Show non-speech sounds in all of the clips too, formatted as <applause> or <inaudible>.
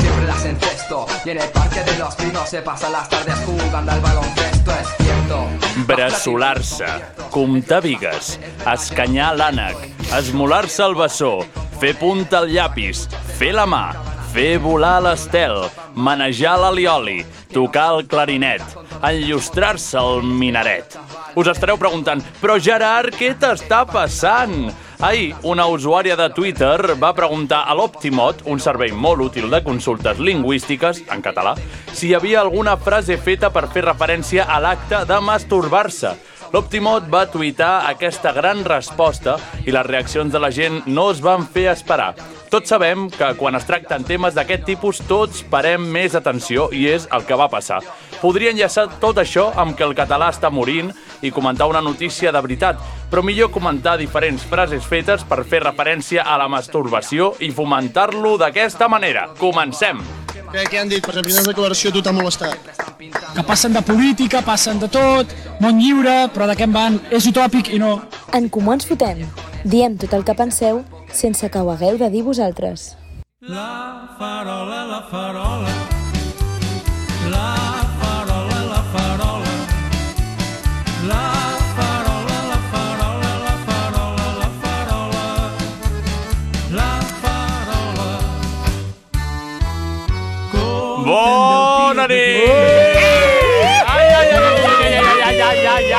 Siempre las encesto. Y en el parque de los pinos se pasan las tardes jugando al baloncesto, es cierto. Bressolar-se, comptar bigues, escanyar l'ànec, esmolar-se el bessó, fer punta al llapis, fer la mà, fer volar l'estel, manejar l'alioli, tocar el clarinet, enllustrar-se el minaret. Us estareu preguntant, però Gerard, què t'està passant? Ahir, una usuària de Twitter va preguntar a l'Optimot, un servei molt útil de consultes lingüístiques, en català, si hi havia alguna frase feta per fer referència a l'acte de masturbar-se. L'Optimot va tuitar aquesta gran resposta i les reaccions de la gent no es van fer esperar. Tots sabem que quan es tracten temes d'aquest tipus tots parem més atenció i és el que va passar. Podria enllaçar tot això amb que el català està morint i comentar una notícia de veritat, però millor comentar diferents frases fetes per fer referència a la masturbació i fomentar-lo d'aquesta manera. Comencem! Què, què han dit? Per exemple, quina declaració a tu t'ha molestat? que passen de política, passen de tot, món lliure, però de què en van? És utòpic i no. En Comú Ens Fotem. Diem tot el que penseu sense que ho hagueu de dir vosaltres. Bona nit! Ai, ai, ai, ai, ai, ai, ai, ai,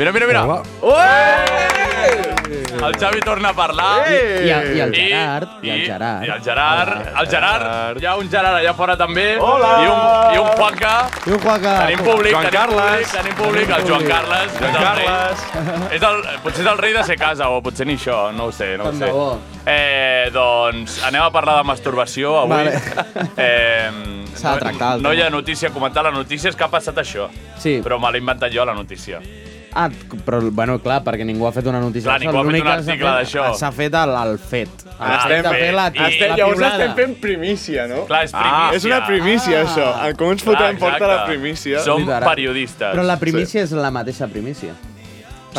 Mira, mira, mira. Hola. Ué! El Xavi torna a parlar. I, el, I el Gerard. I, el Gerard. I el Gerard. El Gerard. Hi ha un Gerard allà fora també. Hola! I un, i un Juanca. I un Juanca. Tenim públic, Joan tenim Carles. públic, tenim públic, el Joan Carles. és Joan el rei. Carles. <laughs> És el, potser és el rei de ser casa, o potser ni això, no ho sé, no ho Tant sé. de bo. Eh, doncs anem a parlar de masturbació avui. Vale. <laughs> Eh, S'ha de tractar, el No, no hi tema. ha notícia a comentar, la notícia és que ha passat això. Sí. Però me l'he inventat jo, la notícia. Ah, però, bueno, clar, perquè ningú ha fet una notícia. Clar, ningú ha fet L'únic un que s'ha article fet- d'això. S'ha fet el, el fet. Ah, estem de fet. fer la, I- la Llavors piulada. estem fent primícia, no? Clar, és Ah, primícia. és una ah. primícia, això. En com ens fotem Clar, porta la exacte. primícia. Som Literal. periodistes. Però la primícia és la mateixa primícia.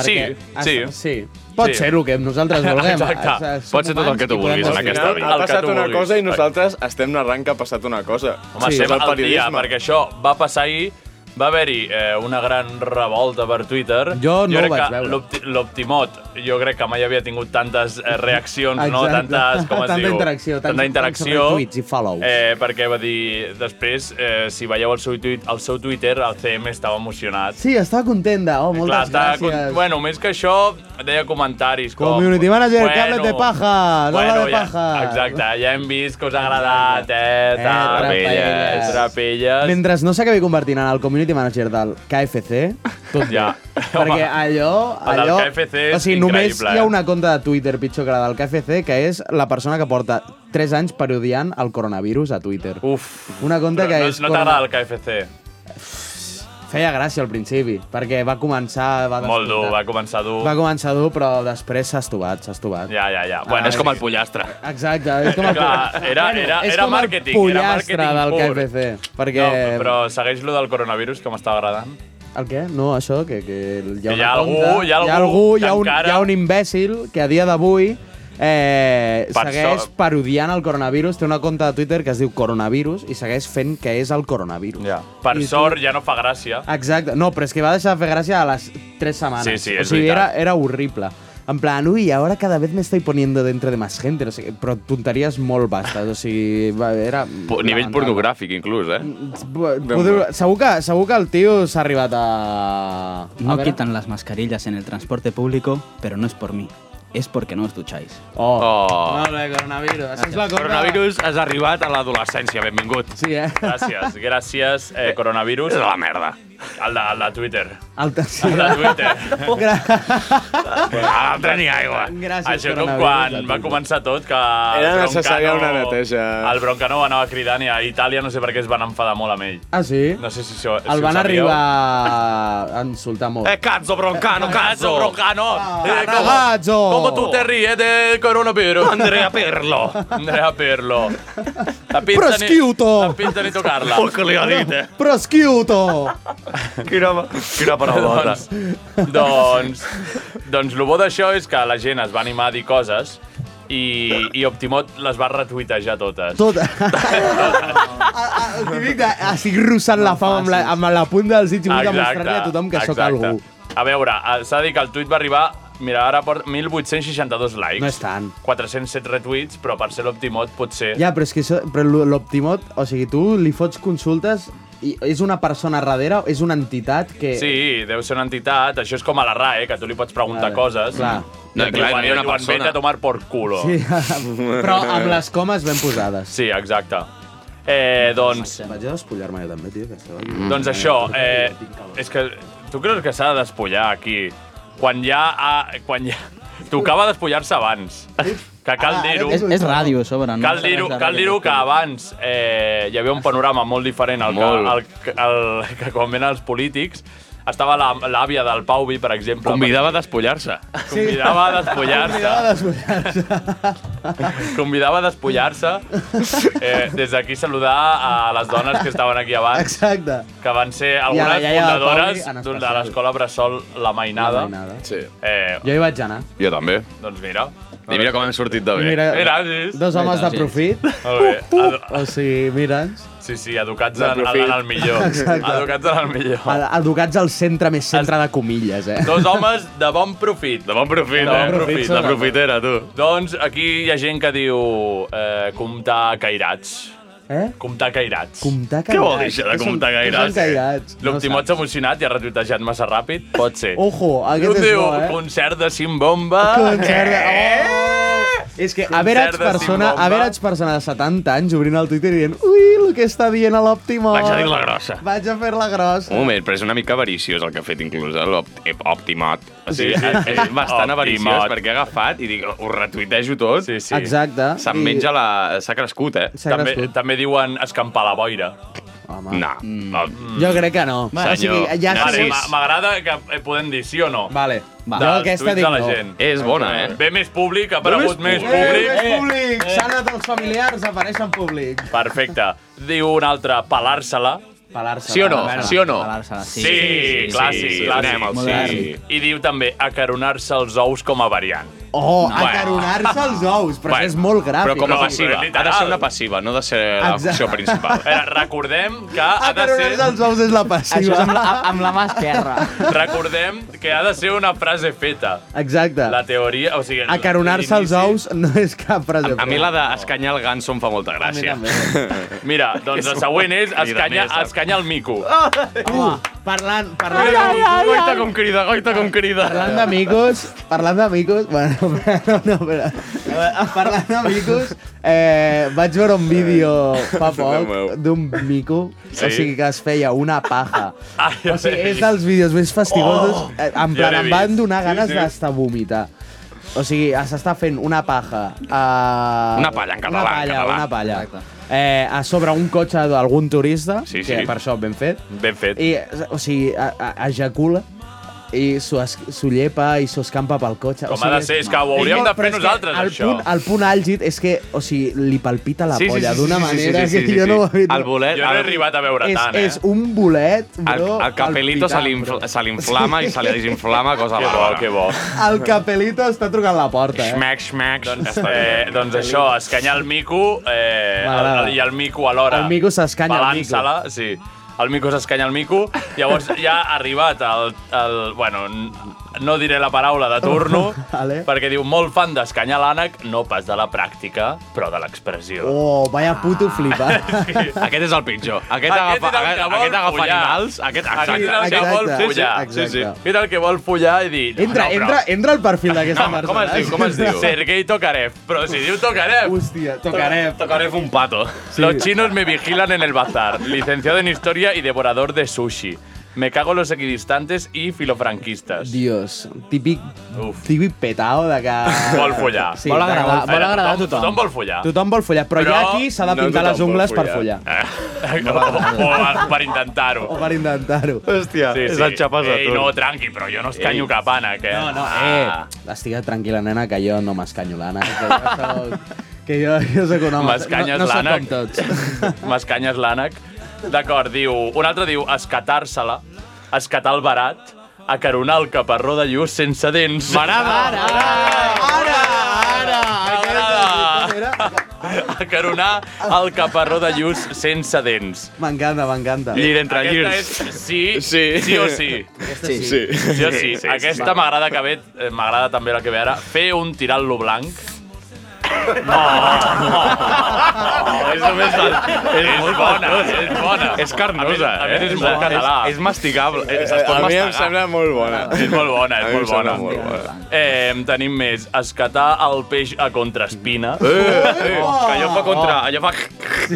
sí. es- sí. Pot Sí. ser el <laughs> que nosaltres vulguem. Exacte. Es- es- Pot ser som tot el que tu humans i podem vulguis en Al decidir. aquesta final vida. ha El que passat tu una vulguis. cosa i nosaltres estem narrant que ha passat una cosa. Home, sí, Això és estem el al dia, periodisme. perquè això va passar ahir, va haver-hi eh, una gran revolta per Twitter. Jo no ho crec vaig que veure. l'Opti- L'Optimot, jo crec que mai havia tingut tantes eh, reaccions, no? Exacte. Tantes, <laughs> com es Tanta diu? interacció, tants- Tanta interacció. tants retweets i follows. Eh, perquè va dir, després, eh, si veieu el seu, tuit, el seu Twitter, el CM estava emocionat. Sí, estava content de... Oh, moltes està gràcies. con- Bueno, més que això, deia comentaris com... Community manager, cables de paja, dona de paja. Ja, exacte, ja hem vist que us ha agradat, eh, Eh, tal, trapelles. trapelles. Mentre no s'acabi convertint en el community manager del KFC, tot <laughs> bé. Ja. Perquè allò... El del allò KFC és o sigui, només increïble, hi ha eh? una conta de Twitter pitjor que la del KFC, que és la persona que porta 3 anys parodiant el coronavirus a Twitter. Uf. Una conta Però que no, és... No t'agrada el KFC. Feia gràcia al principi, perquè va començar... Va Molt dur, va descomptar. començar dur. Va començar dur, però després s'ha estovat, s'ha estovat. Ja, ja, ja. Ah, Bueno, és com el... el pollastre. Exacte, <laughs> és com el... Clar, era, era, és era com el màrqueting. Era pollastre màrqueting del pur. KFC, perquè... No, però segueix lo del coronavirus, que m'està agradant. El què? No, això, que, que hi ha Que hi ha una algú- conta, hi ha hi ha, algú algú hi ha, que un, encara- hi ha un imbècil que a dia d'avui eh, Per segueix sort. parodiant el coronavirus, té una conta de Twitter que es diu coronavirus i segueix fent que és el coronavirus. Ja. Per I tu- sort ja no fa gràcia. Exacte, no, però és que va deixar de fer gràcia a les 3 setmanes. Sí, sí, és o sigui, veritat. era, era horrible. En plan, uy, ahora cada vez me estoy poniendo dentro de más gente, no sé què, però tonteries molt bastes, o sigui, va, era... Po- Nivell lamentable. pornogràfic, inclús, eh? Bo- podeu- Segur que, segur que el tio s'ha arribat a... a No veure- quitan las mascarillas en el transporte público, pero no es por mí. Es porque no os ducháis. Oh. Oh. Molt bé, coronavirus. Això és la cosa... Coronavirus, has arribat a l'adolescència, benvingut. Sí, eh? <laughs> Gràcies, gràcies, eh, coronavirus. És de la merda. El de, el de Twitter. El te- sí. El de Twitter. A l'altre ni aigua. Gràcies, Això com coronavirus, quan a tu. va començar tot, que... Era necessària una neteja. El Broncano anava cridant i a Itàlia no sé per què es van enfadar molt amb ell. Ah, sí? No sé si això... si El ho van sabíeu. arribar a insultar molt. Eh, cazzo, broncano, Cazzo, cazzo. Broncano! Ah, Eh, com- Ragazzo! Como tu te ríes del coronavirus. Andrea <laughs> Pirlo. Andrea Pirlo. La pinta ni- Prosciutto! La pinta ni tocar-la. Oh, que li ha dit, <laughs> eh? Prosciutto! Quina, quina paraulota. doncs, doncs, doncs el bo d'això és que la gent es va animar a dir coses i, i Optimot les va retuitejar totes. <laughs> Tot... El típic de... Estic russant la fama amb la, amb la punta dels dits i vull demostrar-li a tothom que sóc exacte. algú. A veure, eh, s'ha de dir que el tuit va arribar Mira, ara porta 1.862 likes. No és tant. 407 retuits, però per ser l'Optimot potser... Ja, però és que això, però l'O- l'Optimot, o sigui, tu li fots consultes i és una persona darrere, és una entitat que... Sí, deu ser una entitat. Això és com a la RAE, que tu li pots preguntar Vale, coses. clar. No, I clar, quan- no hi ha una i quan persona. Vete a tomar por culo. Sí, però amb les comes ben posades. Sí, exacte. Eh, doncs, Vaig a despullar-me jo també, tio, que estava aquí. doncs Mm. això, eh, és que tu creus que s'ha de despullar aquí quan ja... Ha, quan ja tocava despullar-se abans. Que cal dir-ho. Es, es radio, sobra. No Cal dir-ho cal dir que abans eh, hi havia un panorama molt diferent al que, Molt. al, que- al, <laughs> que quan venen els polítics. Estava la- l'àvia del Pauvi, per exemple. Convidava a despullar-se. Convidava a despullar-se. Convidava a despullar-se. <laughs> Eh, des d'aquí saludar a les dones que estaven aquí abans, Exacte. que van ser I a la algunes iaia del fundadores Pau i en d'un- de especial. l'escola Bressol La Mainada. Nada. Sí. Eh, Jo hi vaig anar. Jo també. doncs mira. I mira com hem sortit de bé. Mira, Eh, Gràcies. dos homes de profit. Molt bé. Uh, Edu- O sigui, mira'ns. Sí, sí, educats en, profit. en el millor. Educats en el millor. Ed- Educats al centre més centre de comilles, eh? Dos homes de bon profit. De bon De profit, bon eh? profit, la sobretot. profitera, tu. Doncs aquí hi ha gent que diu eh, comptar cairats. Eh? Comptar cairats. Comptar Què vol dir cairats. això de Què són- comptar què gaires? Són cairats. L'Optimot No s'ha emocionat i ha retuitejat massa ràpid. Pot ser. saps. Ojo, Diu, aquest és diu, bo, eh? concert de Eh? Simbomba. Concert de... Oh! És que haver Concert ets de persona, Simbomba. haver ets persona de 70 anys obrint el Twitter i dient ui, el que està dient a l'Òptima. Vaig a dir la grossa. Vaig a fer la grossa. Un moment, però és una mica avariciós el que ha fet inclús eh, l'Op- Optimot. O sigui, Sí, sí, és sí. bastant avariciós Optimot. perquè ha agafat i dic, ho retuitejo tot. Sí, sí. Exacte. Se'n I- menja la... S'ha crescut, eh? S'ha També, crescut. també diuen escampar la boira. Home. No. no. Jo crec que no. Va, o sigui, senyor. ja Ah, Vale, sí. m'a- M'agrada que eh, podem dir sí o no. Vale. Va. Dels Jo aquesta tuits dic de la no. gent. És bona, eh? Ve més públic, ha aparegut més més Eh, eh, públic. és públic! S'han anat els familiars, apareixen públic. Perfecte. Diu un altre, pelar-se-la. Ah, Pelar-se. Sí o no? Sí o no? Sí, clàssic, clàssic. Anem al sí. I diu també acaronar-se els ous com a variant. Oh, acaronar-se els ous, però Bueno, això és molt gràfic. Però com a No, passiva. però és Ha de ser literal. una passiva, no ha de ser la Exacte. funció <laughs> principal. A veure, Eh, recordem que ha de Acaronar-se ser... els ous és la passiva. <laughs> amb la mà esquerra. Recordem que ha de ser una frase feta. Exacte. La teoria... O sigui, Acaronar-se els l'inici- ous no és cap frase. A mi la d'escanyar el ganso em fa molta A mi gràcia. també. Mira, doncs el següent és Crida escanya, més, eh? escanya el mico. Uh, parlant, parlant, Ai, ai, Goita com crida, goita com crida. parlant d'amigos, parlant d'amigos, bueno, <laughs> no, no, però, a veure, parlant d'amigos, eh, vaig veure un vídeo fa poc d'un mico, o sigui que es feia una paja. Ai, O sigui, és dels vídeos més fastigosos. Oh, en ja plan, l'he em van vist. donar ganes sí, sí. d'estar a vomitar. O sigui, s'està fent una paja. A... Una palla, en català, Una en palla, català. una palla. Eh, a sobre un cotxe d'algun turista, Sí, que sí. per això ben fet. Ben fet. I, o sigui, a, a, ejacula i s'ho es- s'ho llepa i s'ho escampa pel cotxe. o Com ha sigui, de ser, és que ho hauríem no, de però fer és que nosaltres, el això. Punt, el punt àlgid és que, o sigui, li palpita la polla d'una manera que jo no ho he El bolet... Jo no he el- arribat a veure És, tant, eh? és un bolet, El, bro, el capelito se palpitant, li bro. infl- se li inflama i se li desinflama cosa Que bo, bàrbara. que bo. El capelito està trucant la porta, eh? Schmack, schmack. Doncs, eh, doncs això, escanyar el mico eh, M'agrada. el, i el mico alhora. El mico s'escanya el mico. Balança-la, sí. El mico s'escanya el mico. Llavors ja ha arribat el... el bueno, n- no diré la paraula de turno, <laughs> Vale. perquè diu molt fan d'escanyar l'ànec, no pas de la pràctica, però de l'expressió. Oh, vaya puto Ah. <laughs> flipat. Aquest és el pitjor. Aquest Aquest, agafa, és el que aquest, vol aquest agafa follar. animals. Aquest, exacte. Aquest és el que Exacte. vol Sí, sí, follar. exacte. Mira el que vol follar i dir... no, Entra, no, però- entra, eh, entra al perfil d'aquesta Com, persona. com es diu? Com es <laughs> diu? Sergei Tokarev. Però si diu Tokarev... Hòstia, tocarem. Tocarev un pato. Los chinos me vigilan en el bazar. Licenciado en historia y devorador de sushi. Me cago en los equidistantes y filofranquistas. Dios, típic, Uf. típic petao de que... Vol follar. Sí, Vol de que agradar, vol- vol agradar a tothom. tothom. Tothom vol follar. Tothom vol follar, però, Però però ja aquí s'ha de no pintar tothom les ungles vol per follar. follar. <laughs> o per intentar-ho. O per intentar-ho. Hòstia, sí, sí. és el xapàs de Ei, tot. no, tranqui, però jo no escanyo cap ànec, eh? No, no, eh. Estigues tranquil·la, nena, que jo no m'escanyo l'ànec. Que jo soc... Que jo, jo soc un home. M'escanyes no, no soc l'ànec. com tots. <laughs> M'escanyes l'ànec. D'acord, diu... Un altre diu escatar-se-la, escatar el barat, acaronar el caparró de lluç sense dents. M'agrada! Ara! Ara, ara, M'agrada! aquesta Acaronar el caparró de lluç sense dents. M'encanta, m'encanta. Llir entre Aquesta és llirs. sí, sí, Sí. sí o sí. Aquesta sí. Sí. Sí o sí. Aquesta m'agrada que ve, eh, m'agrada també la que ve ara. Fer un tirant-lo blanc. Oh, és només el... És molt bona, és bona. És carnosa, A més, a més eh? és molt català. Eh, És, és mastigable. És, es A pot Eh, mi em mastigar. sembla molt bona. És molt bona, A és mi em molt sembla bona. molt bona. Eh, tenim més. Escatar el peix a contraespina. Oh. Eh, que allò fa contra... Allò fa...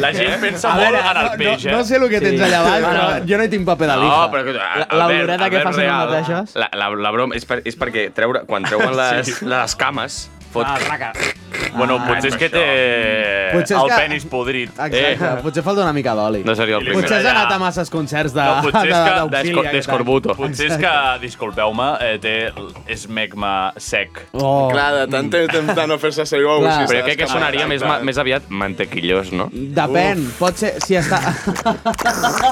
La gent pensa molt en el peix, no, eh? no sé el que tens allà baix, però jo no hi tinc paper de lija. No, però... La, l'oloreta que facin les mateixes. La, la, la broma és, per, és perquè treure, quan treuen les, sí. les cames, fot... Ah, Bueno, potser és que té Potser és el que- penis podrit. Exacte, eh. potser falta una mica d'oli. no seria el I li primer. Potser has allà. anat a masses concerts de... eh? No, potser és que d'auxili d'esco- aquest any. d'escorbuto. Potser és que, disculpeu-me, eh, té esmegma sec. Oh. Clar, de tant temps de no fer-se seu a Clar. Però jo crec que eh, sonaria més, ma- més aviat mantequillós, no? Depèn, Uf. pot ser... Si està... <laughs>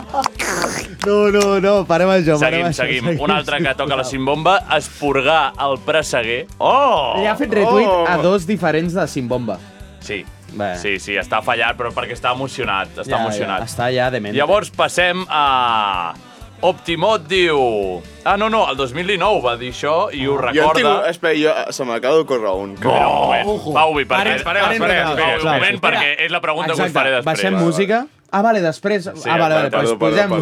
no, no, no, parem això, parem Seguim, això. seguim. Un altre que toca la cimbomba, esporgar el presseguer. Oh! Li ha fet retweet oh. a dos diferents de Simbomba. Sí. Bé. Sí, sí, està fallat, però perquè està emocionat. Està emocionat. Ja, està ja dement. Llavors passem a... Optimot diu... Ah, no, no, el 2019 va dir això i Ah. ho Jo en tinc... recorda... Espera, jo, se m'acaba d'ocórrer un. que- Espera un Oh, moment. Pauvi, perquè... Ara, Espera, espera, ara espera, entra. un Clar, moment, espera. perquè és la pregunta que us faré després. baixem música. Ah, vale, després... Sí, ah, vale, vale, perdó, doncs posem perdó,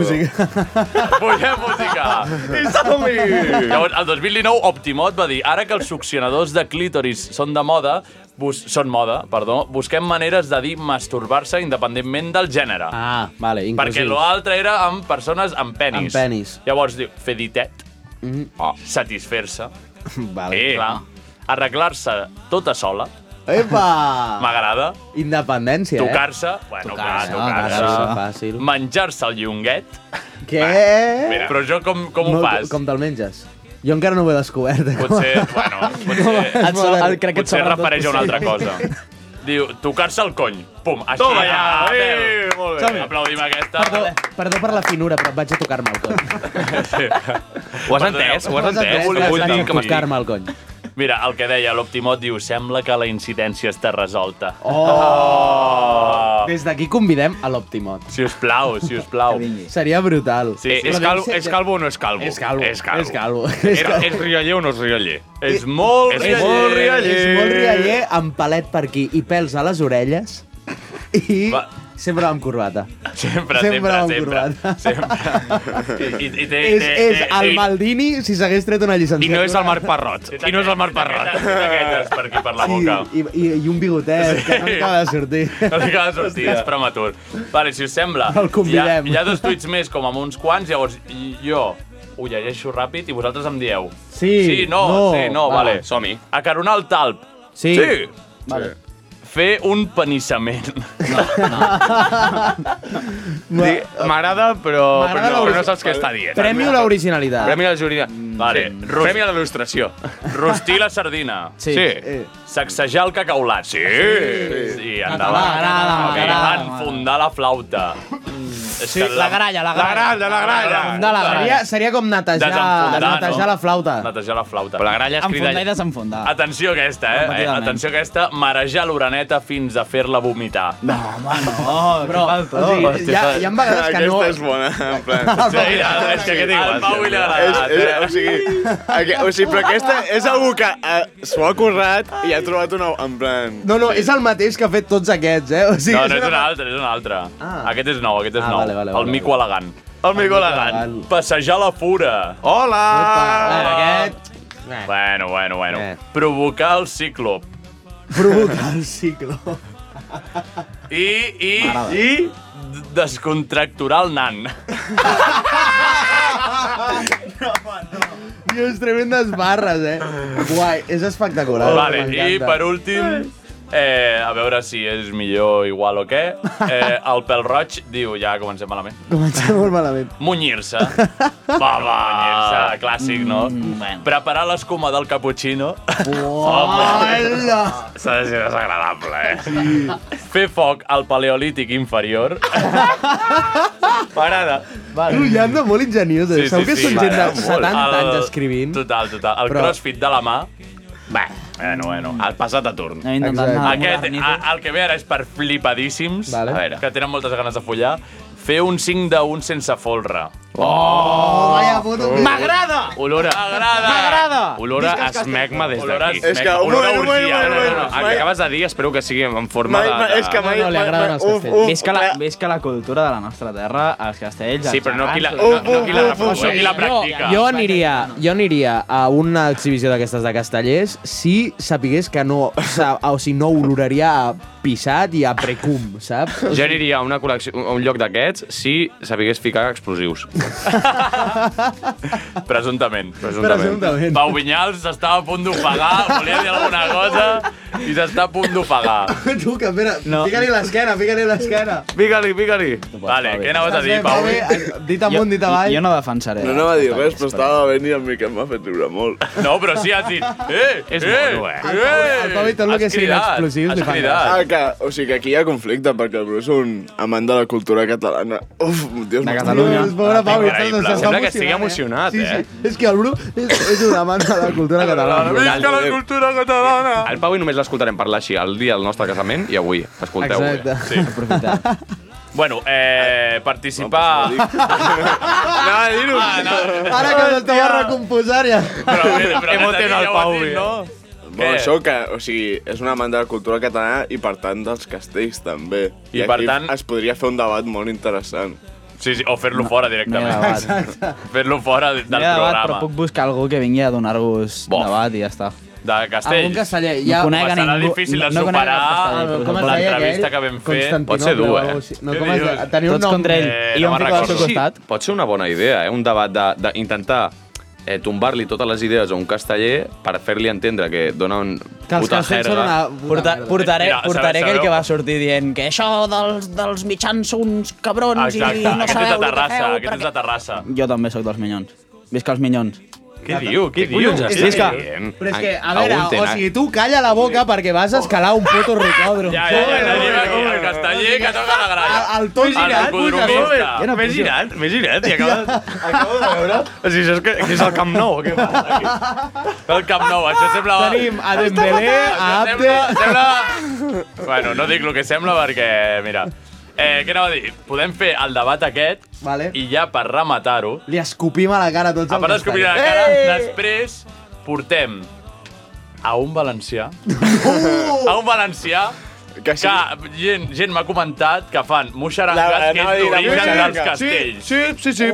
<laughs> música. Posem música. Llavors, el 2019, Optimot va dir ara que els succionadors de clítoris són de moda, bus són moda, perdó, busquem maneres de dir masturbar-se independentment del gènere. Ah, vale, Perquè inclusiu. l'altre era amb persones amb penis. Amb penis. Mm-hmm. Llavors diu, fer ditet, oh, satisfer-se, <laughs> Vale. eh, clar, arreglar-se tota sola, Epa! m'agrada, Independència, tocar-se, bueno, clar, Ah. Tocar-se, Ah, tocar-se, tocar-se, fàcil. menjar-se el llonguet, eh? Què? però jo com, com ho No, fas? Com te'l menges? Jo encara no ho he descobert. eh? <laughs> Potser, bueno, potser, Et so- el- crec que et potser sobren dos refereix a una altra cosa. Diu, tocar-se el cony. Pum, així. Toma ja! Eh, molt bé. Aplaudim aquesta. Perdó, perdó per la finura, però vaig a tocar-me el cony. Ho has entès? Ho has entès? Vaig a Vull dir que m'estic- tocar-me el cony. Mira, el que deia l'Optimot diu, sembla que la incidència està resolta. Oh! Des d'aquí convidem a l'Optimot. Si us plau, si us plau. Seria brutal. Sí, Eh, sí. és, calvo, és calvo o no és calvo? És calvo, És calvo. és calvo. <laughs> És Era, calvo. és rioller o no és rioller? És molt És rialler. molt rialler. És molt rialler, amb palet per aquí i pèls a les orelles i Va. sempre amb corbata. Sempre, sempre, Sempre amb sempre. corbata. Sempre. <laughs> I, i, i té, és, té, és té- el té- Maldini si s'hagués tret una I llicenciatura. no és el Marc Parrot. té I no és el Marc taquetes, Parrot. té taquetes per aquí, per la boca. I, i, i un bigotet que no acaba de sortir. <laughs> No li acaba de sortir, és prematur. Vale, si us sembla, El convidem. Hi, ha, hi ha dos tuits més, com amb uns quants, llavors jo ho llegeixo ràpid i vosaltres em dieu. Sí, sí no, no, sí, no, va. vale. Som-hi. Acaronar el talp. Sí. sí. Vale. Fer un penissament. Dic, M'agrada, M'agrada però, però, no, però l'original. no saps què està dient. Premi a l'originalitat. Premi a la jurídica. Vale. Rus- Premi a la il·lustració. Rostir la sardina. Sí. Sí. Sacsejar el cacaulat. Sí. Sí, endavant. M'agrada, m'agrada. Enfundar la flauta. és Sí, que la gralla, la gralla. Enfondar la gralla. Seria- seria com netejar- netejar la flauta. Netejar Ah, la flauta. Però la gralla es crida- Enfondar i desenfondar. Atenció aquesta, eh? eh? Repetidament. Atenció aquesta, marejar l'oreneta fins a fer-la vomitar. No, Oh, Però, o sigui, hi ha, hi ha vegades que no... Aquesta és bona, en plan... Pau- <laughs> Sí, mira, és que aquest igual. Al Pau li ha agradat, és, és, o sigui, aqu o sigui, però aquesta és algú que eh, s'ho ha currat i ha trobat una... En plan... No, no, és el mateix que ha fet tots aquests, eh? O sigui, no, és un altre, és un altre. Ah. Aquest és nou, aquest és Ah, nou. vale, vale, vale, el mico elegant. El mico elegant. Passejar la fura. Hola! Bueno, aquest... Bueno, bueno, bueno. Provocar el ciclop. Provocar el ciclo. I, i, i d- descontracturar el nan. <laughs> Dios, tremendes barres, eh? Guai, és espectacular. vale, i m'encanta. per últim, eh, a veure si és millor, igual o què, eh, el pèl roig diu, ja comencem malament, Comença molt malament. <laughs> munyir-se. Va, va, munyir-se, clàssic, no? Mm, Preparar l'escuma del cappuccino. Hola! S'ha de ser desagradable, eh? Sí. Fer foc al paleolític inferior. M'agrada. Vale. Ja anda molt ingeniós, eh? Segur que són gent de M'agrada 70 molt. anys El- escrivint. Total, total. El Però- crossfit de la mà. Va, bueno, bueno. El passat a turn. Hem intentat Exacte. anar Aquest, modernitos. a, el que ve ara és per flipadíssims, Vale. a veure, que tenen moltes ganes de follar, fer un 5 de 1 sense folre. Oh, vaya puto. M'agrada! Ah. Olora. M'agrada! Olora esmegma des Olora d'aquí. esmegma. És que, un Olora moment, un moment, orgia. un No, moment, no, no, un moment. El que acabes de dir espero que sigui en forma Mai, de... mai, de- és que mai... No, no, li mai- agraden mai- els uf, castells. uf, Ves que, la, eh, ves que la cultura de la nostra terra, els castells... Sí, els però no qui la, gegants, no, no qui la, Uf, uf, uf, no qui la practica. Jo aniria, jo aniria a una exhibició d'aquestes de castellers si sapigués que no, sa- o sigui, no oloraria a pissat i a precum, saps? <laughs> Jo aniria a, una col·lecció, a un lloc d'aquests si sabigués ficar explosius. <laughs> Presumptament. Presumptament. Pau Vinyals s'estava a punt d'ofegar, volia dir alguna cosa i s'està a punt d'ofegar. <laughs> Tu, que espera, no. fica-li l'esquena, fica-li l'esquena. Fica-li, fica-li. Vale, què anaves a dir, Bé, Pau? bé, eh, Dit Jo, amunt, dit avall. jo no defensaré. No anava a dir els res, castells, però estava ben i el Miquel m'ha fet riure molt. No, però sí has dit... Eh, És eh, mono, eh? Eh, El Pau i tot el que Has siguin cridat, explosius li Has fan cridat. Ah, que, o sigui que aquí hi ha conflicte, perquè el Bru és un amant de la cultura catalana. Uf, Dios De meu. Catalunya. Dios, pobre Pau, Increïble. s'està Sembla que estigui emocionant, emocionat, eh? eh? Sí, sí. És que el Bru és, és un amant de la cultura catalana. Visca la cultura catalana! El Pau i només l'escoltarem parlar així el dia del nostre casament i avui. Escolteu-ho. bé. Exacte. eh? Sí. Bueno, eh, participar... Anava a <laughs> dir-ho. Ah, Ara que t'estava recomposant ja. Però, però, però ja Emote del ho has Pau, dit, eh? no? Bueno, Què? això que, o sigui, és una amant de la cultura catalana i, per tant, dels castells, també. I, per aquí tant- Es podria fer un debat molt interessant. Sí, sí, o fer-lo fora No hi ha directament. debat. <laughs> Fer-lo fora del No hi ha debat, però programa. puc buscar algú que vingui a donar-vos Bof. debat i ja està. De Algun Castells. casteller. Ja, No conec a Serà ningú- difícil de no- no conec superar a el- Castells, però Ah, es se'n deia l'entrevista que aquell? vam fer. Constantinoble Pot ser o dur, alguna eh? cosa així. No, Què com es dius? deia? Teniu un Tots nom... contra ell. Eh, I no jo em me'n fico al seu recordo. costat. Pot ser una bona idea, eh? Un debat de- d'intentar eh, tombar-li totes les idees a un casteller per fer-li entendre que dona un Que els puta castells són jerga. una... Porta, portaré Mira, portaré sabeu- aquell que sabeu- va sortir dient que això dels, dels mitjans són uns cabrons i Exacte, no aquest és sabeu de el que Terrassa, feu. aquest és de Terrassa. perquè-" Jo també sóc dels minyons. Visca els minyons. Què diu? Què diu? collons estàs dient? Però és que, a Algun veure, o tenen. sigui, tu calla la boca perquè vas a escalar un puto ricòdrom. Ja, ja, ja, ja, tenim aquí el casteller que toca la gralla. El, el to girat, codromista. puta, M'he girat, m'he girat i acabo, acabo de veure... O sigui, això és, que, que és el Camp Nou, què passa aquí? El Camp Nou, això semblava... Tenim a Dembélé, a Això Abde... Sembla, sembla... Bueno, no dic el que sembla perquè, mira... Eh, què anava a dir? Podem fer el debat aquest Vale. i ja per rematar-ho, Li escopim a la cara a tots a els part d'escopir la castellers. cara, després portem a un valencià, a un valencià Uh! Que sí. que gent, gent m'ha comentat que fan La- muixarangas, que anava és a dir, la d'origen muixaranga. dels castells. Sí, sí, sí. A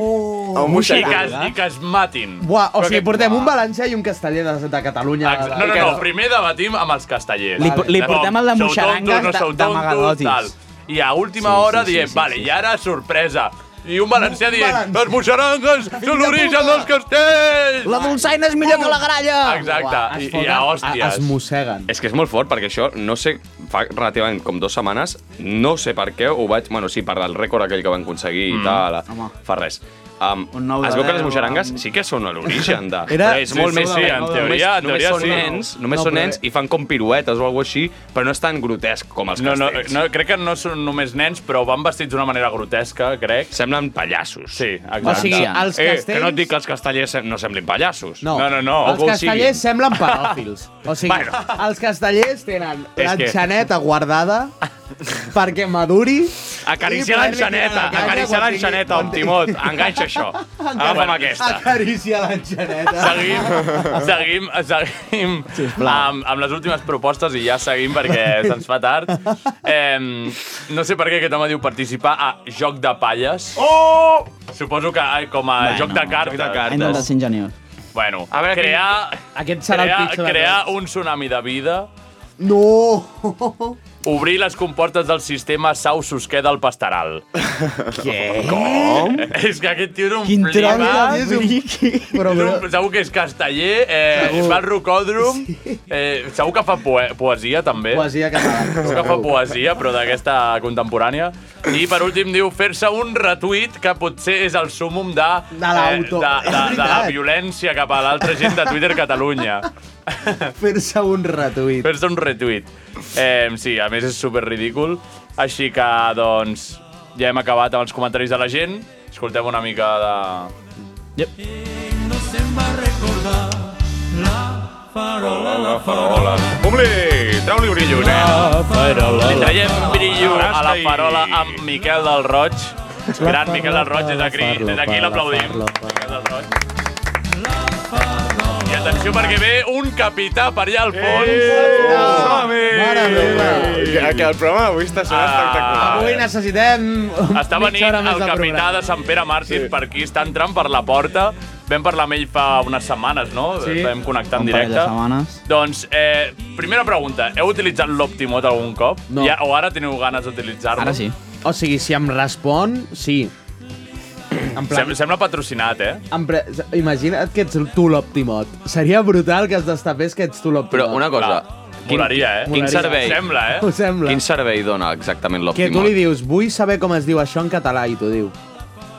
I un que, moixerà. es, I que es matin. Buah, o Però sigui, que- portem un valencià i un casteller de, de Catalunya. Ex- No, no, no, primer debatim amb els castellers. Li- li Com, portem el de sou Moixarangues tontos, no de- sou de tontos, Magalotis. tal. I a última Sí, sí, hora sí, diem, sí, vale, sí, i ara sorpresa. I un valencià dient, valencià. les moixarangues són l'origen dels castells! La dolçaina és millor que la gralla! Exacte, Buah, es i, i foten- a Es hòsties. mosseguen. És que és molt fort, perquè això, no sé, fa relativament com dues setmanes, no sé per què ho vaig... Bueno, sí, per el rècord aquell que van aconseguir mm. i tal, eh, fa res. Um, nou de es veu que les deu, moixerangues amb- sí que són a l'origen de... <laughs> Era- Però és Sí, molt sí, més... sí, en teoria, només, en teoria només sí. Són nens, només No, són però- nens i fan com piruetes o alguna així, però no és tan grotesc com els No, no, castells. no, crec que no són només nens, però van vestits d'una manera grotesca, crec. Semblen pallassos. Sí, exacte. O sigui, els Eh, que no castells- et dic que els castellers sem- no semblin pallassos. No, No, no, no. els castellers semblen pedòfils. O sigui, bueno. els castellers tenen És la que- xaneta guardada perquè maduri... Acariciar i poder-li l'enxaneta, tirar la canya acariciar quan l'enxaneta, tingui- quan Timot, tingui- enganxa <laughs> això. Agafa'm aquesta. Acariciar l'enxaneta. Seguim, <laughs> seguim, seguim amb, amb les últimes propostes i ja seguim perquè <laughs> se'ns fa tard. Eh, no sé per què aquest home diu participar a Joc de Palles. Oh! Suposo que eh, com a bueno, joc de cartes. Joc de Ha intentat ser ingeniós. Bueno, a veure, crear, Aquest serà el crear, pitjor de crear un tsunami de vida, No! obrir les comportes del sistema Sau Susquer del <laughs> Pastaral. Què? Com? És que aquest tio és un Quin tram flipat. és un... Però, És però, un, segur que és casteller, eh, Segur. va al rocòdrom, eh, segur que fa poe poesia, també. poesia catalana. Segur que fa poesia, però d'aquesta contemporània. I, per últim, diu fer-se un retuit que potser és el súmum de, eh, De l'auto. de, És de, de la veritat. violència cap a l'altra gent de Twitter Catalunya. Fer-se un retuit. Fer-se un retuit. Eh, sí, a més és super ridícul. Així que, doncs, ja hem acabat amb els comentaris de la gent. Escoltem una mica de... Públic, treu-li brillo, nen. Li traiem brillo a la farola amb Miquel del Roig. Gran Miquel del Roig, des d'aquí des d'aquí l'aplaudim. Miquel del Roig. I atenció perquè ve un capità per allà al fons. Som-hi! Mare meva. Que, que el programa d'avui està sonant Ah. espectacular. Avui necessitem... Està venint el capità de Sant Pere Màrtir per aquí, està entrant per la porta. Vam parlar amb ell fa unes setmanes, no? Sí. Vam connectar en Un parell de directe. setmanes. Doncs, eh, primera pregunta. Heu utilitzat l'Optimot algun cop? No. Ja, o ara teniu ganes d'utilitzar-lo? Ara sí. O sigui, si em respon, sí. En plan, Sem sembla patrocinat, eh? em pre... Imagina't que ets tu l'Optimot. Seria brutal que es destapés que ets tu l'Optimot. Però una cosa... Quin, Molaria, eh? quin Molaria. servei, Sembla, eh? Ho sembla. quin servei dona exactament Que tu l'Optimot? li dius, vull saber com es diu això en català, i t'ho diu.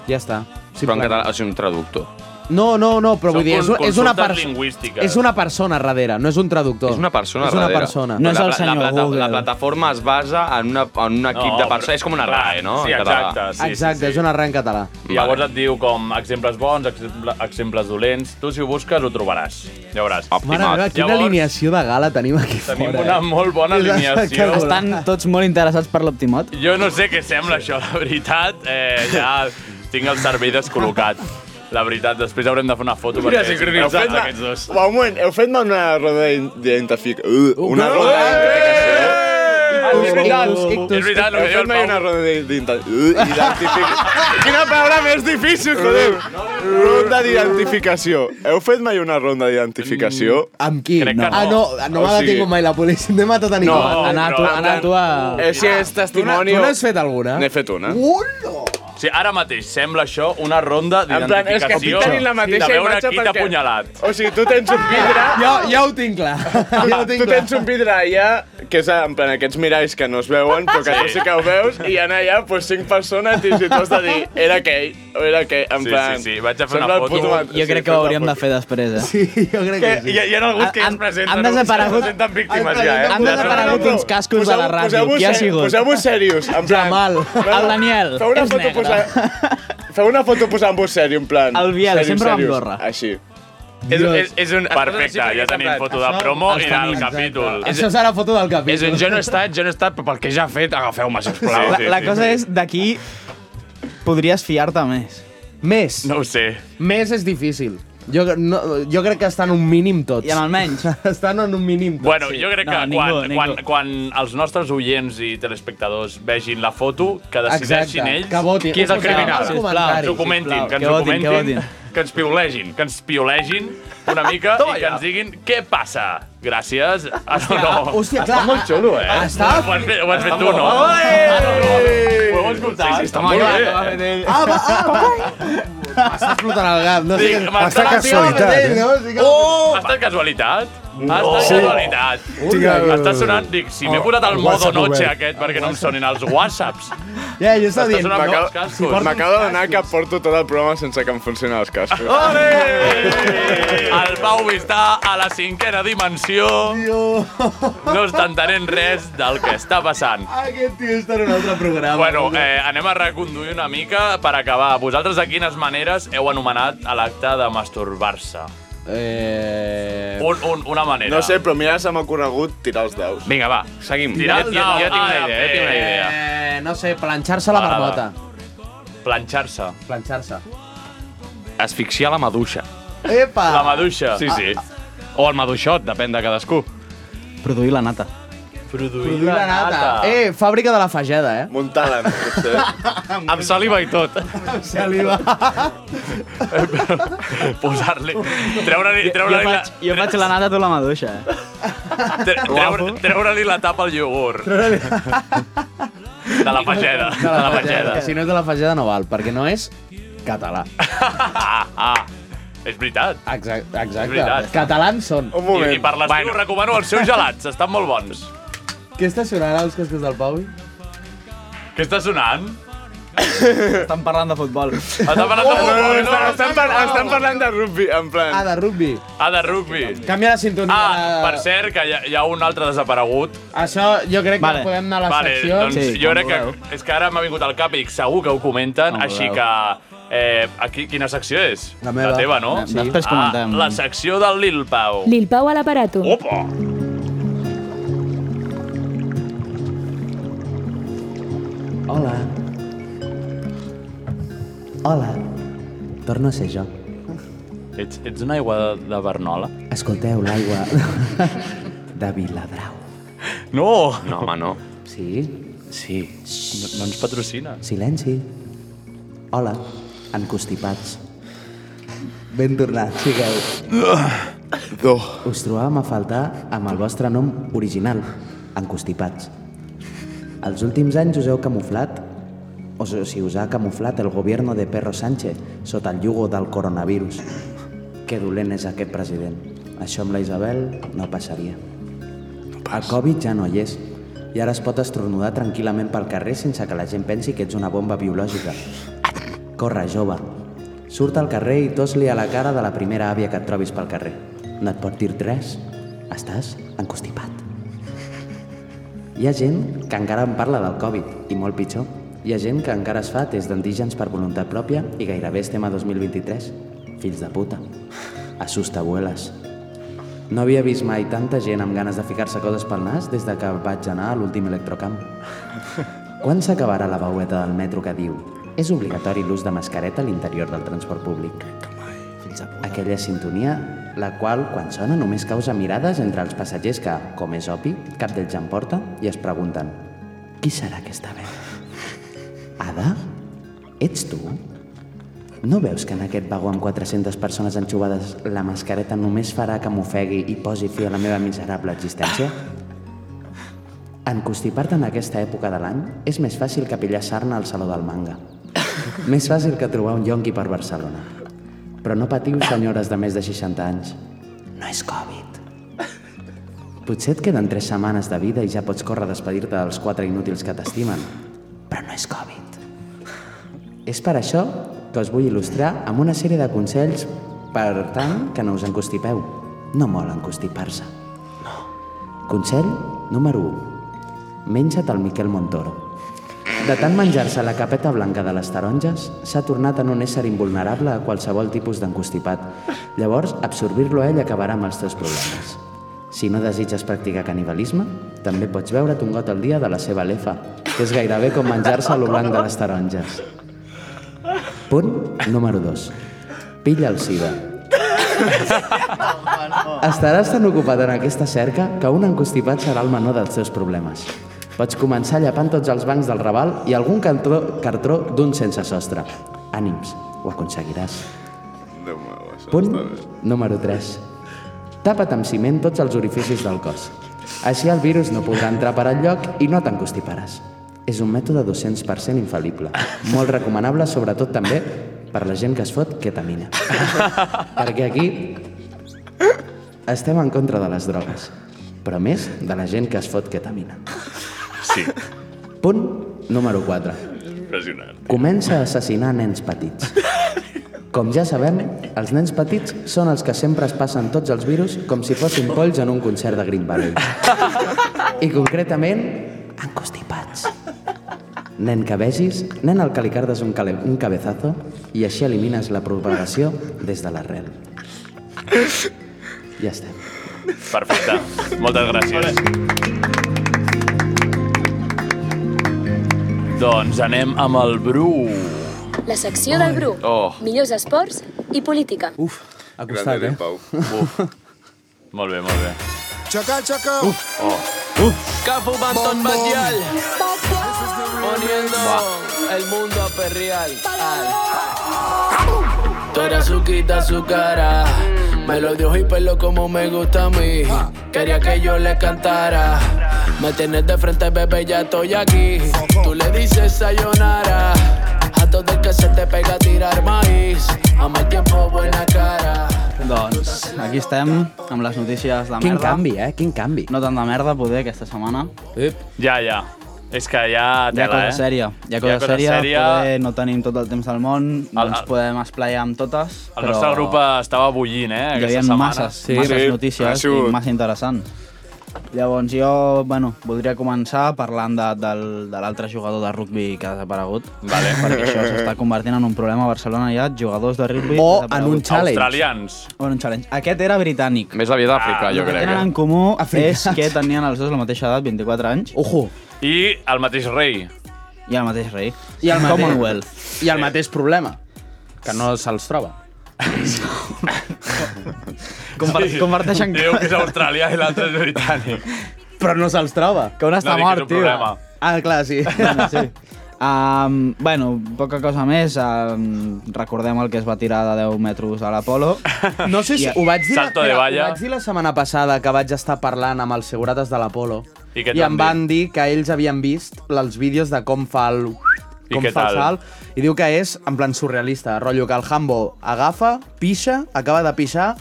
Ja està. Però en Simple. català, o sigui, un traductor. No, no, no, però Són vull dir, és, con- és una consultes persona... lingüístiques. És una persona darrere, no és un traductor. És una persona És una darrere. persona. No és La el pla- senyor la, plata- Google. La plataforma es basa en, una, en un equip de però- persones. És com una clar, RAE, no? Sí, En català. exacte. Sí, sí, Exacte, sí. és una arran català. I Llavors et diu com exemples bons, exemple, exemples dolents. Tu, si ho busques, ho trobaràs. Ja veuràs. Mare Optimot. meva, quina Llavors- alineació de gala tenim aquí Tenim fora. eh? una molt bona <laughs> És alineació. espectacular. Estan tots molt interessats per l'Optimot. Jo no sé què sembla això, la veritat. Eh, ja tinc el cervell descol·locat. La veritat, després haurem de fer una foto perquè Mira, heu sincronitzat fet aquests dos. Va, un moment, heu fet una roda d'identificació. Una roda Ictus, d'identificació. ictus, eh? És ictus. veritat, el Heu que diu fet el mai una Pau. roda <laughs> d'identificació. Quina paraula més difícil, joder. Ronda d'identificació. Heu fet mai una ronda d'identificació? Amb qui? Crec que Ah, no, no O m'ha sigui- detingut mai la policia. No he matat a ningú. No, Ha anat- però- ha anat tu a... Eh, si és Tu n'ha- testimoni... tu o- n'has fet alguna? N'he fet una. Hola! Sí, ara mateix sembla això una ronda En plan, és que estic d'identificació tenint la mateixa de veure imatge qui t'ha perquè- apunyalat. O sigui, tu tens un vidre... <laughs> Ja, ja ho tinc clar. Ja ho tinc Tu Ah, clar. tens un vidre allà, que és en plan aquests miralls que no es veuen, però que tu sí que ho veus, i hi ha allà pues, cinc persones i si tu has de dir, era aquell, o era aquell, en Sí, plan... sí, sí, vaig a fer sembla una el foto. puto mat- Jo crec que fes ho la hauríem de foto. fer després, eh? Sí, jo crec que sí. hi ha alguns que ja es Ah, Han- presenten, han desaparegut- es presenten víctimes ja, eh? han desaparegut uns cascos de la ràdio. poseu-vos Qui ha ser- sigut? Poseu-vos serios, en plan... Jamal, el Daniel, Feu una és foto negre. posant... Feu una foto posant-vos serio, en plan... El Biel, serios, sempre amb serios, gorra. Així. És, és, és un... Perfecte, ja tenim foto de promo i del capítol. Això serà foto del capítol. És un jo no he estat, jo no he estat, però pel que ja ha fet, agafeu-me, sisplau. La, la cosa és, d'aquí podries fiar-te més. Més. No ho sé. Més és difícil. Jo, no, jo crec que estan un mínim tots. I amb el <laughs> menys. Estan en un mínim tots. Bueno, jo crec No, que quan, ningú, ningú. quan, quan els nostres oients i telespectadors vegin la foto, que decideixin Exacte, ells que votin. qui és el Sisplau, criminal. sisplau, que ens ho comentin, sisplau, que ens que ho votin, que comentin, votin. que ens piolegin, que ens piolegin una mica i que ens diguin què passa. Gràcies. Ah, no, no. Hòstia, clar. Està molt xulo, eh? Està... Ho has fet, ho has fet tu, no? Ho heu escoltat? Sí, sí, està molt bé. Ah, va, ah, va. M'està explotant el gat. No sé Dic, què- m'està M'està eh? explotant casualitat, eh? No? Sí que- Ha estat casualitat? No. Ha estat casualitat. Sí. Està sonant, dic, si m'he posat el El modo WhatsApp noche obert. aquest perquè no em sonin <laughs> els whatsapps. Ja, jo estava dient, Ah, no, els M'acabo cascos. Ah. si m'acabo d'adonar que porto tot el programa sense que em funcionin els cascos. El Pau està a la cinquena dimensió. No està entenent res del que està passant. Aquest tio està en un altre programa. Bueno, eh, anem a reconduir una mica per acabar. Vosaltres de quines maneres heu anomenat a l'acte de masturbar-se? Eh... Un, un, una manera. No sé, però mira, se m'ha ocorregut tirar els daus. Vinga, va, seguim. Tirar el dau. Ah, bé. Eh, no sé, planxar-se la Va, va, va. marmota. eh. Planxar-se. Planxar-se. Asfixiar la maduixa. Epa! La maduixa. Sí, sí. Ah. O el maduixot, depèn de cadascú. Produir la nata. Produir La nata. Eh, fàbrica de la fageda, <laughs> eh? Muntar-la, potser. Amb saliva i tot. Saliva. <laughs> Posar-li... Treure-li Jo, treure la, faig, jo faig la nata, tota tu la maduixa. Eh? tre- treure, treure la tapa al iogurt. De la pageda. De la pageda. Que si no és de la fageda no val, perquè no és català. Ah, ah. És veritat. Exacte. És Exacte. veritat. Catalans són. I, I per l'estiu bueno. recomano els seus gelats, estan molt bons. Què està sonant als cascos del Pau? Què està sonant? Estan parlant de futbol. Estan parlant de No, no, futbol. estan, estan, par estan parlant de rugby, en plan... Ah, de rugby. Ah, de rugby. Canvia la sintonia. Ah, per cert, que hi ha, hi ha un altre desaparegut. Això jo crec que Vale. podem anar a les vale, seccions. doncs jo crec que... És que ara m'ha vingut al cap i dic, segur que ho comenten, Com així vulgueu. que... Eh, aquí, quina secció és? La meva. La teva, no? Sí. Després comentem. Ah, la secció del Lil Pau. Lil Pau a l'aparato. Opa! doncs- Hola. Hola. Torno a ser jo. Ets, ets una aigua de, de Bernola? Escolteu l'aigua <laughs> de Viladrau. No! No, home, no. Sí? Sí. No, no ens patrocina. Silenci. Hola. Encostipats. Ben tornat, sigueu. Do. Us trobàvem a faltar amb el vostre nom original, Encostipats. Els últims anys us heu camuflat o si si us ha camuflat el gobierno de Perro Sánchez sota el yugo del coronavirus. Que dolent és aquest president. Això amb la Isabel no passaria. El Covid ja no hi és i ara es pot estornudar tranquil·lament pel carrer sense que la gent pensi que ets una bomba biològica. Corre, jove. Surt al carrer i tos-li a la cara de la primera àvia que et trobis pel carrer. No et pot dir res. Estàs encostipat. Hi ha gent que encara en parla del Covid, i molt pitjor. Hi ha gent que encara es fa test d'antígens per voluntat pròpia i gairebé estem a 2023. Fills de puta. Assusta, abueles. No havia vist mai tanta gent amb ganes de ficar-se coses pel nas des de que vaig anar a l'últim electrocamp. Quan s'acabarà la veueta del metro que diu és obligatori l'ús de mascareta a l'interior del transport públic? Aquella sintonia, la qual, quan sona, només causa mirades entre els passatgers que, com és obvi, cap d'ells en porta i es pregunten «Qui serà aquesta veu?» «Ada? Ets tu?» No veus que en aquest vagó amb 400 persones enxubades la mascareta només farà que m'ofegui i posi fi a la meva miserable existència? Encostipar-te en aquesta època de l'any és més fàcil que pillar sarna al Saló del Manga. Més fàcil que trobar un yonqui per Barcelona. Però no patiu, senyores de més de 60 anys. No és Covid. Potser et queden 3 setmanes de vida i ja pots córrer a despedir-te dels quatre inútils que t'estimen. Però no és Covid. És per això que us vull il·lustrar amb una sèrie de consells Doncs, per tant que no us encostipeu. No molt encostipar-se. No. Consell número 1. Menja't el Miquel Montoro. De tant menjar-se la capeta blanca de les taronges, s'ha tornat en un ésser invulnerable a qualsevol tipus d'encostipat. Llavors, absorbir-lo ell acabarà amb els teus problemes. Si no desitges practicar canibalisme, també pots beure't un got al dia de la seva lefa, que és gairebé com menjar-se lo blanc de les taronges. Punt número 2. Pilla el sida. Estaràs tan ocupat en aquesta cerca que un encostipat serà el menor dels teus problemes. Pots començar llapant tots els bancs del Raval i algun cartró, cartró d'un sense sostre. Ànims, ho aconseguiràs. Punt número 3. Tapa't amb ciment tots els orificis del cos. Així el virus no podrà entrar per lloc i no t'encostiparàs. És un mètode 200% infal·lible. Molt recomanable, sobretot també per la gent que es fot ketamina. Perquè aquí Estem en contra de les drogues, però més de la gent que es fot ketamina. Sí. Punt número 4. Impressionant. Comença a assassinar nens petits. Com ja sabem, els nens petits són els que sempre es passen tots els virus com si fossin polls en un concert de Green Valley. I concretament, encostipats. Nen que vegis, nen al que li cardes un, cale- un cabezazo i així elimines la propagació des de l'arrel. Ja estem. Perfecte. Moltes gràcies. Doncs anem amb el Bru. La secció del Bru. Oh. Millors esports i política. Uf, ha costat, Grande, eh? Pau. Uf. Molt bé, molt bé. Xoca, xoca. Uf. Oh. Uf. Capo Bastón Batial. Poniendo el mundo a perrear. Al. Tú eres suquita, su cara. Me lo dio pelo como me gusta a mí. Quería que yo le cantara. Me tienes de frente, bebé, ya estoy aquí. Tú le dices sayonara. A todo el que se te pega a tirar maíz. Ama el tiempo, buena cara. Doncs aquí estem, amb les notícies de merda. Quin canvi, eh? Quin canvi. No tant de merda, poder, aquesta setmana. Ep. Ja, ja. És que ja Hi ha tela, cosa eh? sèria, hi ha cosa, sèria, poder no tenim tot el temps del món, no El- ens el- podem esplaiar amb totes, El nostre grup estava bullint, eh? hi havia aquesta setmana. masses, sí, masses notícies i massa interessants. Llavors jo, bueno, voldria començar parlant de, del, de l'altre jugador de rugbi que ha desaparegut. Vale. Perquè això s'està convertint en un problema a Barcelona ja, jugadors de rugbi O desapareguts. en un challenge. Australians. O en un challenge. Aquest era britànic. Més aviat Ah, d'Àfrica, jo El que crec. tenen eh? en comú és Africans. que tenien els dos la mateixa edat, 24 anys. Ojo! I el mateix rei. I el mateix rei. I el mateix- Commonwealth. I el mateix problema, que no se'ls troba. Compar Sí. Comparteixen... Diu que és australià i l'altre és britànic. Però no se'ls troba. Que un està No, dic que mort, és un tio. problema. Ah, clar, <laughs> sí. Bueno, sí. Um, bueno, poca cosa més. Um, recordem el que es va tirar de 10 metres a l'Apolo. No sé si I- ho vaig dir, Salto de mira, valla. ho vaig dir la setmana passada que vaig estar parlant amb els segurates de l'Apolo I i, què et i van em van dir que ells havien vist els vídeos de com fa el... I Com què fa el tal? salt, i diu que és en plan surrealista, rotllo que el Hambo agafa, pixa, acaba de pixar,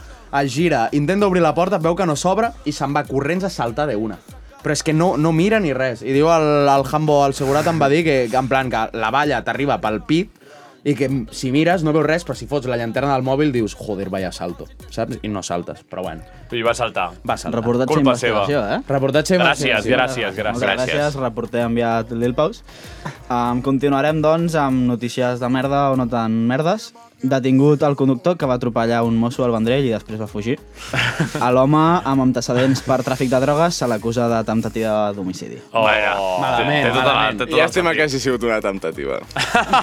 es gira, intenta obrir la porta, veu que no s'obre i se'n va corrents a saltar d'una. Però és que no, no mira ni res. I diu el, el Hambo, el segurat, em va dir que, que en plan que la valla t'arriba pel pit i que si mires no veus res, però si fots la llanterna del mòbil dius, joder, vaya salto, saps? I no saltes, però bueno. I va saltar. Va saltar. Reportatge Culpa seva. eh? Reportatge i Gràcies, investigació. gràcies, gràcies. Moltes gràcies, reporter enviat Lil Paus. Um, continuarem, doncs, amb notícies de merda o no tan merdes. Detingut el conductor que va atropellar un mosso al Vendrell i després va fugir. A l'home amb antecedents per tràfic de drogues se l'acusa de temptativa d'homicidi. Oh, Vaja. Malament, té tota malament. La, té tota Llàstima que hagi sigut una temptativa.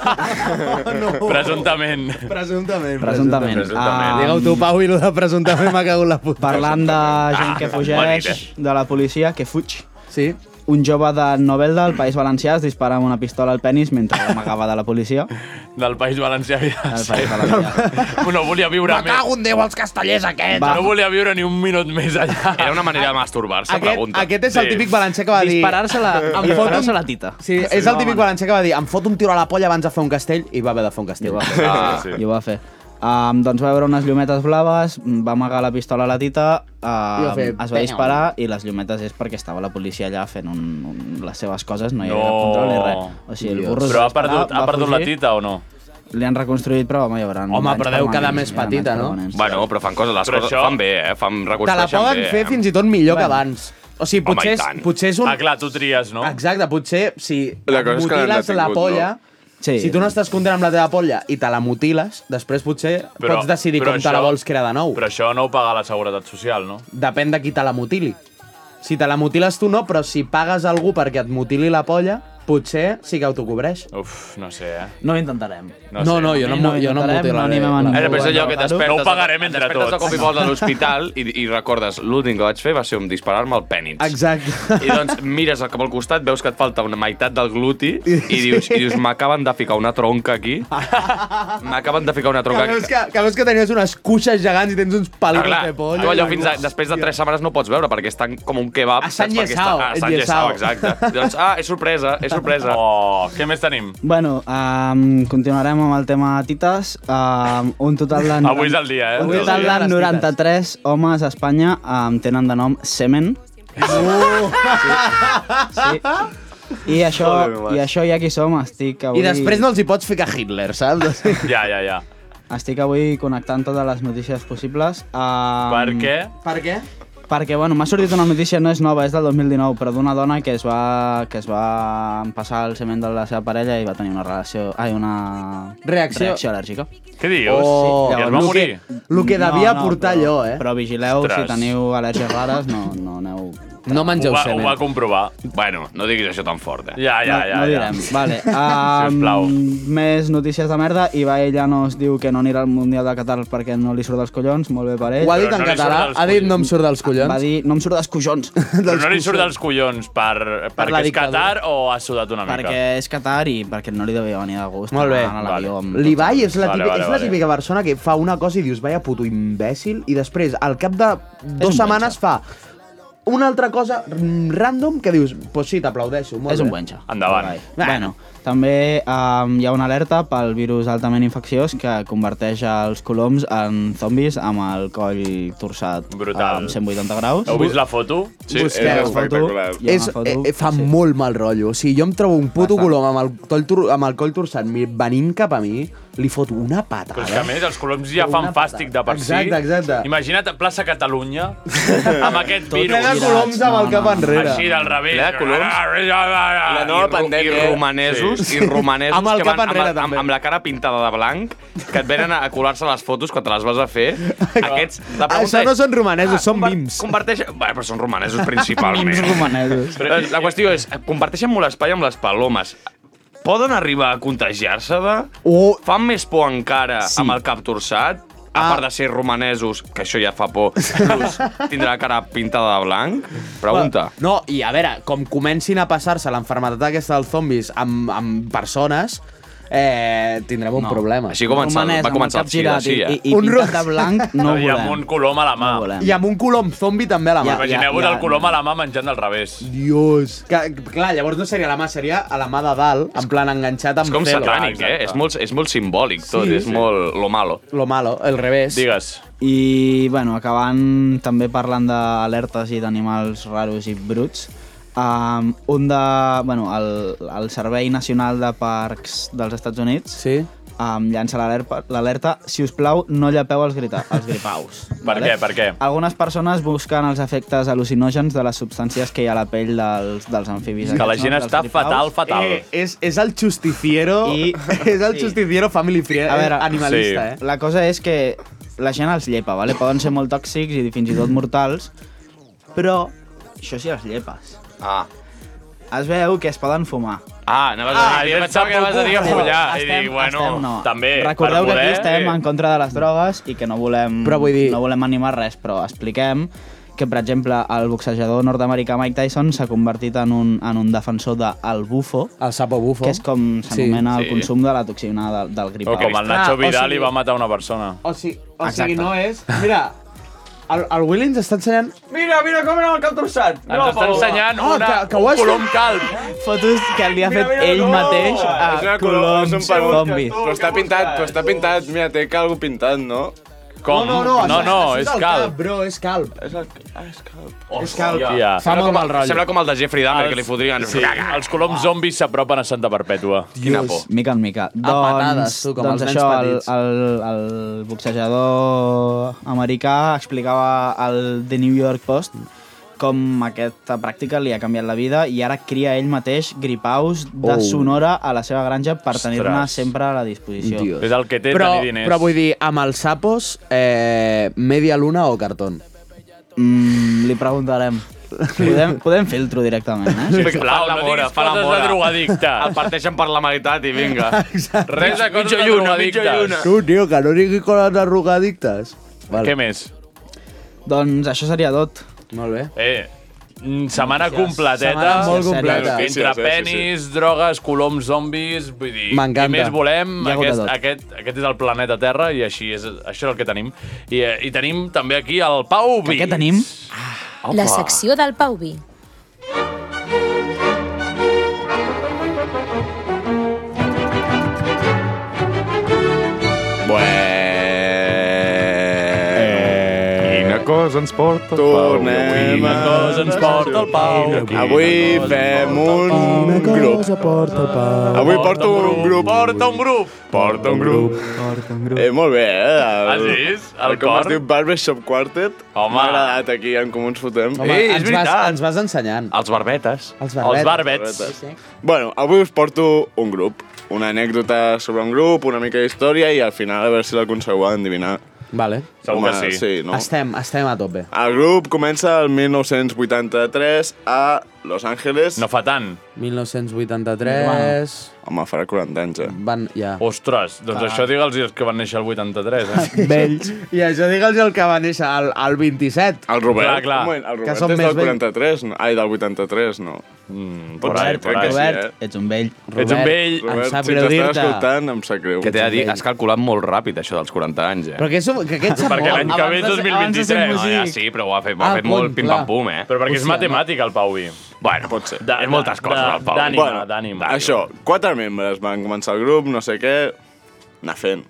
no. Presumptament. Presumptament. Presumptament. Presumptament. Ah, Digue-ho tu, Pau, i lo de presumptament m'ha cagut la puta. Parlant de gent que bona fugeix, idea. de la policia que fuig. Sí. Un jove de Novelda, al País Valencià, es dispara amb una pistola al penis mentre amagava de la policia. Del País Valencià. Del País Valencià. No volia viure més. Cago en Déu, els castellers aquests! No volia viure ni un minut més allà. Era una manera de masturbar-se, Aquest, aquest és el típic valencià que va dir... Disparar-se-la- Em fot disparar-se un- la tita. Sí, és el típic valencià que va dir em fot un tiro a la polla abans de fer un castell i va haver de fer un castell. Ah, sí. I ho va fer. Um, doncs va veure unes llumetes blaves, mm, va amagar la pistola a la tita, I uh, va fer, es va "Bam". disparar i les llumetes és perquè estava la policia allà fent un, un, les seves coses, no hi havia No. control ni res. O sigui, el burro es Però va ha perdut, disparar, ha va perdut la fugir. tita o no? Li han reconstruït, però home, hi haurà... Home, danys però deu quedar permanents, més hi haurà petita, danys no? permanents. Bueno, però fan coses, les Però coses això- fan bé, eh? Fan, Te la reconstrueixen poden bé. fer eh? fins i tot millor que Bueno. abans. O sigui, Home, i potser, tant. és, potser és un... Ah, clar, tu tries, no? Exacte, potser si La et cosa és que l'han mutiles la detingut, polla... no? Sí. Si tu no estàs content amb la teva polla i te la mutiles, després potser Però- pots decidir però com te la això- vols crear de nou. Però això no ho paga la Seguretat Social, no? Depèn de qui te la mutili. Si te la mutiles tu no, però si pagues algú perquè et mutili la polla, potser sí que autocobreix. Uf, no sé, eh? No ho intentarem. No sé. No, no, jo no m'ho- jo no m'ho intentarem, tiraré. animem a ningú Ara, però és a allò que guardar-ho. t'espertes... No ho pagarem entre T'espertes de tots. cop i volta a l'hospital i, i recordes l'últim que vaig fer va ser un disparar-me al penis. Exacte. I doncs mires cap al costat, veus que et falta una meitat del gluti i dius, i dius m'acaben de ficar una tronca aquí. M'acaben de ficar Que una tronca veus aquí. que, que, veus que tenies unes cuixes gegants i tens uns Però palitos Ah, clar, de polla. tu allò fins a, després de 3 setmanes no pots veure perquè estan com un kebab. Estan saps? Perquè llesao, estan- ah, estan llesao. llesao, exacte. I doncs, ah, és sorpresa, és sorpresa. Oh, què més tenim? Bueno, um, continuarem amb el tema tites. Um, un total de... Avui és el dia, eh? Un doncs, Avui és el total dia de de les 93 homes a Espanya um, tenen de nom Semen. Uh! Sí. I això, Joder, mas. I això ja qui som, estic avui... I després no els hi pots ficar Hitler, <laughs> saps? Ja, ja, ja. Estic avui connectant totes les notícies possibles. Um, Per què? Per què? Perquè, bueno, m'ha sortit una notícia, no és nova, és del 2019, però d'una dona que es va, que es va empassar el semen de la seva parella i va tenir una relació... Ai, una... Reacció. Reacció al·lèrgica. Què dius? Oh, I es va morir. lo que devia portar però, allò, eh? Però vigileu, Ostres. si teniu al·lèrgies rares, no, no aneu... No Ho va, ho va comprovar. Bueno, no diguis això tan fort, eh? Ja, ja, No- ja. no ja. direm. <laughs> Vale, um, més notícies de merda. Ibai Llanos diu que no anirà al Mundial de Qatar perquè no li surt dels collons. Molt bé per ell. Ho ha dit Però no en li surt català? dels Ha dit no em surt dels collons? Va dir no em surt dels <laughs> collons. <laughs> Però no li surt dels collons per, perquè la és Qatar dictadura. o ha sudat una mica? Perquè és Qatar i perquè no li devia venir de gust. Molt bé. anar a l'avió amb- L'Ibai és, la Vale, típica, vale, és la vale. típica persona que fa una cosa i dius, vaya puto imbècil, i després, al cap de dues un setmanes, fa una altra cosa mm, random que dius, pues sí, t'aplaudeixo. molt És un bé." benxa. Endavant. Bueno, també um, hi ha una alerta pel virus altament infecciós que converteix els coloms en zombis amb el coll torçat Brutal. amb 180 graus. Heu vist la foto? eh, Busqueu. És, eh, eh, fa molt mal rotllo. O sigui, jo em trobo un puto colom amb el, coll, tor- amb el coll torçat mi- venint cap a mi, li foto una patada. Però és que a més, els coloms ja fan fàstic de per si. Exacte, exacte. Imagina't plaça <laughs> Catalunya amb aquest Tot virus. ple de coloms amb el cap enrere. Així, del revés. Ple de coloms. La La nova pandèmia. I romanesos, sí. i romanesos Amb el que van cap enrere, amb, amb, amb, la cara pintada de blanc, que et venen a a colar-se les fotos quan te les vas a <laughs> fer. Aquests, la pregunta Ah, Això no són romanesos, són mims. és, converteix... Bé, però són romanesos <laughs> principalment. romanesos. Però eh, la qüestió és, comparteixen molt espai amb les palomes. Poden arribar a contagiar-se de... O... Fan més por encara Sí. Ah. sí. amb el cap torçat, a part de ser romanesos, que això ja fa <laughs> por, plus tindrà la cara pintada de blanc. Pregunta. No, i a veure, com comencin a passar-se l'enfermetat aquesta dels zombis amb, amb persones, eh, tindrem un No. problema. Així comença- Romanès, va amb el començar cap el girat sí, així, i- eh? i- i Un pintat ro- de blanc, no I amb un colom a la mà. I amb un colom zombi també a la mà. Imagineu-vos el colom a la mà menjant del revés. Dios. Que, clar, llavors no seria a la mà, seria a la mà de dalt, en plan enganxat amb És com celo. satànic, eh? És molt, és molt simbòlic tot, Sí, sí, és sí. molt lo malo. Lo malo, el revés. Digues. I, bueno, acabant també parlant d'alertes i d'animals raros i bruts, um, un de... Bueno, el, el Servei Nacional de Parcs dels Estats Units sí. um, llança l'alerpa- l'alerta si us plau, no llepeu els, grita, els gripaus. Per què, per què? Algunes persones busquen els efectes al·lucinògens de les substàncies que hi ha a la pell dels, dels amfibis. Que la aquests, gent no? Dels està gripaus. fatal, fatal. Eh, és, és el justiciero... I... <laughs> És el justiciero family friend, A veure, animalista, eh? La cosa és que la gent els llepa, vale? poden ser molt tòxics i fins i tot mortals, però això sí els llepes. Ah. Es veu que es poden fumar. Ah, anaves a dir, ah, pensava que anaves a dir a follar. I Estem- Eh, dic, bueno, estem, no. també, Recordeu Eh, per eh. que poder... aquí estem en contra de les drogues i que no volem, però vull dir... no volem animar res, però expliquem que, per exemple, el boxejador nord-americà Mike Tyson s'ha convertit en un, en un defensor del bufo, el sapo bufo, que és com Sí. s'anomena sí. el Sí. consum Ah, de la toxina del, del O gripau. com el Nacho Vidal li va matar una persona. O sigui, o Exacte. sigui no és... Mira, el, el Willy ens està ensenyant... Mira, mira com era el cap torçat. Ens està ensenyant Ah, Oh, una, que- que ho un has fet- colom calb. Fotos que li ha Mira, fet mira, ell no! mateix És a una color, és un coloms pelut, zombis. Però està pintat, però està pintat. Mira, té calgo pintat, no? Com? No, no, No, això- no, això és del calb. bro, és calb. És, el, ah, és calb. és calb. Hòstia. Fa molt mal rotllo. Sembla com el de Jeffrey Dahmer, que li fotrien... Sí, els coloms zombis s'apropen a Santa Perpètua. Quina por. Mica en mica. A doncs, patades, tu, com doncs els nens això, petits. El, el, el boxejador americà explicava al The New York Post com aquesta pràctica li ha canviat la vida i ara cria ell mateix gripaus de Oh. sonora a la seva granja per tenir-ne Ostres. sempre a la disposició. Dios. És el que té però, tenir diners. però vull dir, amb els sapos, eh, media luna o cartón? Mm, li preguntarem. Podem, podem filtro directament, eh? Sisplau, no diguis fa la coses de mora. <laughs> drogadicte. El parteixen per la meitat i vinga. Res de coses de drogadictes. Tu, tio, que no digui coses de drogadictes. Vale. Què més? Doncs això seria tot. Molt bé. Eh, mm, setmana Notícies. completeta. Setmana molt completa. Entre Notícies, eh, sí, penis, drogues, coloms, zombis... Vull dir, M'encanta. què més volem? Hi ha hagut de Aquest, tot. aquest, aquest és el planeta Terra i així és, això és el que tenim. I, eh, i tenim també aquí el Pau Vits. Què tenim? La secció del Pau Vi. cosa ens porta el Tornem Pau. a- Avui fem un grup. porta el Pau. Avui porto un grup. Porta un grup. Porta un grup. Porta un Eh, molt bé, eh? El, Has vist? El com cor? es diu Barbershop Quartet. Home. M'ha agradat aquí, en Comú ens fotem. Home, Ei, és ens vas- veritat. ens vas ensenyant. Els barbetes. Els barbetes. Els barbets. Sí, sí. Bueno, avui us porto un grup. Una anècdota sobre un grup, una mica d'història i al final a veure si l'aconsegueu endevinar. Vale. Segur que Home, sí. sí, no? Estem, estem a tope. El grup comença el 1983 a Los Angeles. No fa tant. 1983... Home, farà 40 anys, eh? Van, ja. Ostres, doncs Ah. això digue'ls els que van néixer el 83, <laughs> eh? Vells. I això digue'ls el que va néixer al, al 27. El Robert, Clar, clar. Un moment, el Que Robert som és més del vells. 43, no? Ai, del 83, no. Mm, por ahí, por ahí. Robert, ets un vell. Ets un vell. Em Robert, sap si greu t'estàs dir-te. escoltant, em sap greu. Què t'he de dir? Has calculat molt ràpid, això dels 40 anys, eh? Però que, som, que aquest sap Perquè molt. l'any que ve és Abans de- abans de ser 2023. No, músic. ja sí, però ho ha fet, ho ha Ah, fet punt, molt clar. pim-pam-pum, eh? Però perquè és Hòstia, matemàtic, el Pauvi. Bueno, pot ser. és moltes de- coses, el Pau. d'ànima, d'ànima. Això, quatre membres van començar el grup, no sé què, anar fent.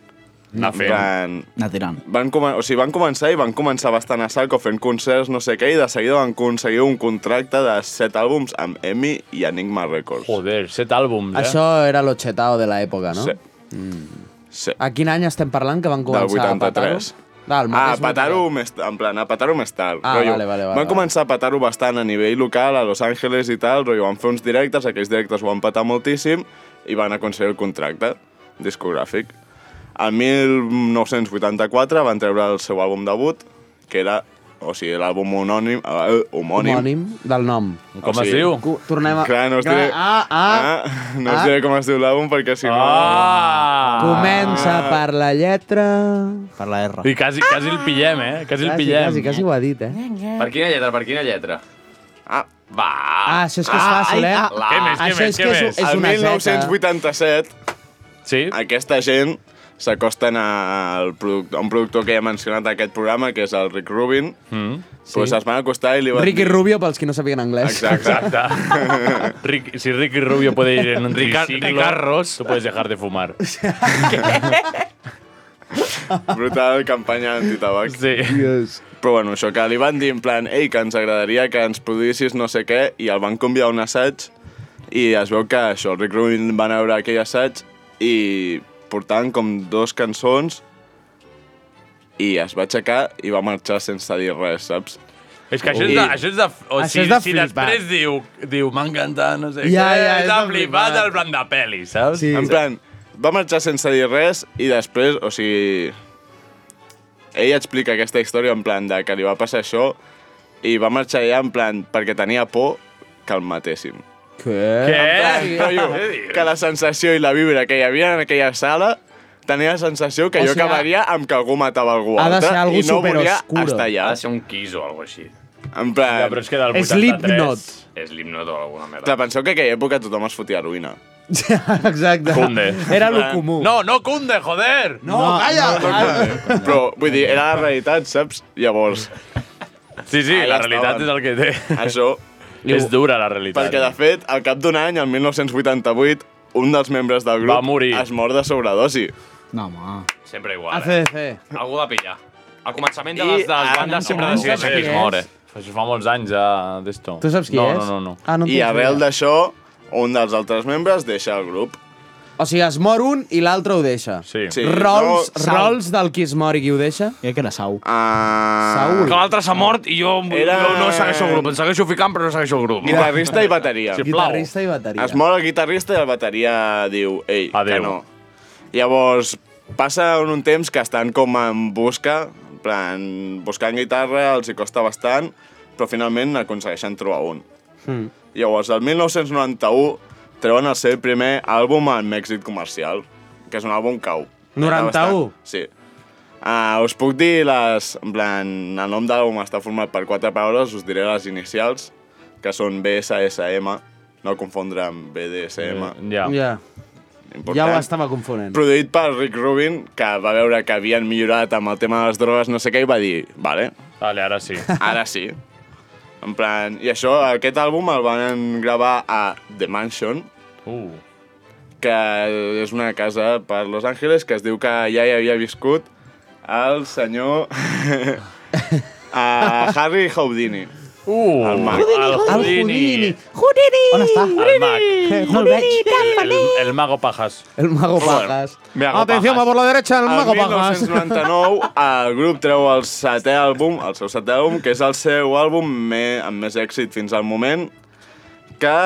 Anar fent. Van, Anar tirant. van, comen o sigui, van començar i van començar bastant a saco fent concerts, no sé què, i de seguida van aconseguir un contracte de set àlbums amb Emi i Enigma Records. Joder, set àlbums, eh? Això era lo chetao de l'època, no? Sí. Mm. Sí. A quin any estem parlant que van Del començar a patar-ho? 83. Del ah, mateix petar-ho més, en plan, a petar-ho més tard. Ah, rotllo. vale, vale, vale, vale. van començar a petar-ho bastant a nivell local, a Los Angeles i tal, rotllo, van fer uns directes, aquells directes ho van petar moltíssim i van aconseguir el contracte discogràfic. El 1984 van treure el seu àlbum debut, que era, o sigui, l'àlbum homònim, eh, homònim. Homònim del nom. Com es diu? Cu- Tornem a... Clar, no us Clar, diré, Ah, ah, ah, no us diré com es diu l'àlbum perquè si no... ah. Comença per la lletra... Per la R. I quasi, quasi el pillem, eh? Quasi el pillem. Ah, Quasi, quasi ho ha dit, eh? Per quina lletra, per quina lletra? Ah, va. Ah, això és que és fàcil, eh? Què més, què Això més, és què que és- més? és El una zeta. 1987, sí? aquesta gent s'acosten al productor, a un productor que ja he mencionat a aquest programa, que és el Rick Rubin, Mm. sí. pues es van acostar i li van Ricky dir... Rubio, pels qui no sàpiguen anglès. <laughs> Exacte. <laughs> Rick, Ah, si Ricky Rubio puede ir en un Ricard- triciclo, Ricard tú puedes dejar de fumar. Brutal campanya antitabac. Sí. Yes. Però bueno, això que li van dir en plan, ei, que ens agradaria que ens produïssis no sé què, i el van convidar a un assaig, i es veu que això, el Rick Rubin va anar a veure aquell assaig i portaven com dos cançons i es va aixecar i va marxar sense dir res, saps? És que això és de... Això és de o Això si, és de si flipar. després diu, diu m'ha encantat, no sé Ja, què, ja, és t'ha de flipar. flipat el plan de pel·li, saps? Sí. En plan, va marxar sense dir res i després, o sigui... Ell explica aquesta història en plan de que li va passar això i va marxar allà en plan perquè tenia por que el matessin. Eh? Què? En plan, eh? rotllo, que la sensació i la vibra que hi havia en aquella sala tenia la sensació que O o jo sigui, acabaria amb que algú matava algú ha de altre ser algú i no volia superoscuro. estar allà. Ha de ser un quiz o alguna així. En plan... Ah, Ja, però és que del Slipknot. Slipknot o alguna merda. Clar, penseu que en aquella època tothom es fotia heroïna. <laughs> Exacte. Era lo comú. No, no Kunde, joder! No, calla! no, no. Però, vull dir, era la realitat, saps? <laughs> Llavors... Sí, sí, la realitat és el que té. Això... És dura, la realitat. Perquè, de fet, al cap d'un any, el 1988, un dels membres del grup Va morir. es mor de sobredosi. No, home. Sempre igual, eh? ACDC. Algú de pillar. Al començament de I les, de les ara bandes no, sempre no decides saps qui qui es és. mor, eh? Això fa molts anys, ja, d'esto. Tu saps qui no, és? No, no, no. Ah, no en I tens arrel idea. d'això, un dels altres membres deixa el grup. O sigui, es mor un i l'altre ho deixa. Sí. Sí, Rols, no, no, Sau. rols del qui es mor i qui ho deixa? Jo crec que era Sau. Ah... Saúl. Que l'altre s'ha mort i jo, Era- jo no segueixo el grup. Em segueixo ficant, però no segueixo el Eh, grup. Guitarrista i bateria. Guitarrista i bateria. Es mor el guitarrista i el bateria diu, ei, Adeu. Adéu. que no. Llavors, passa un, un temps que estan com en busca, en plan, buscant guitarra, els hi costa bastant, però finalment aconsegueixen trobar un. Mm. Llavors, el 1991 treuen el seu primer àlbum amb èxit comercial, que és un àlbum cau. 91? Sí. Uh, us puc dir les... En plan, el nom de l'àlbum està format per quatre paraules, us diré les inicials, que són BSSM, no confondre amb BDSM. Ja. Ja. Important. Ja ho estava confonent. Produït per Rick Rubin, que va veure que havien millorat amb el tema de les drogues, no sé què, i va dir, vale, Vale, ara <laughs> sí. ara sí. En plan, i això, aquest àlbum el van gravar a The Mansion, Uh. que és una casa per Los Angeles que es diu que ja hi havia viscut el senyor... <laughs> A Harry Houdini. Uh, el mag. Houdini! On està? El mag. No el veig. El, el mago pajas. El mago pajas. Mago Atención, va por la derecha, el mago pajas. El 1999 el grup treu el setè àlbum, el seu setè àlbum, que és el seu àlbum me, amb més èxit fins al moment, que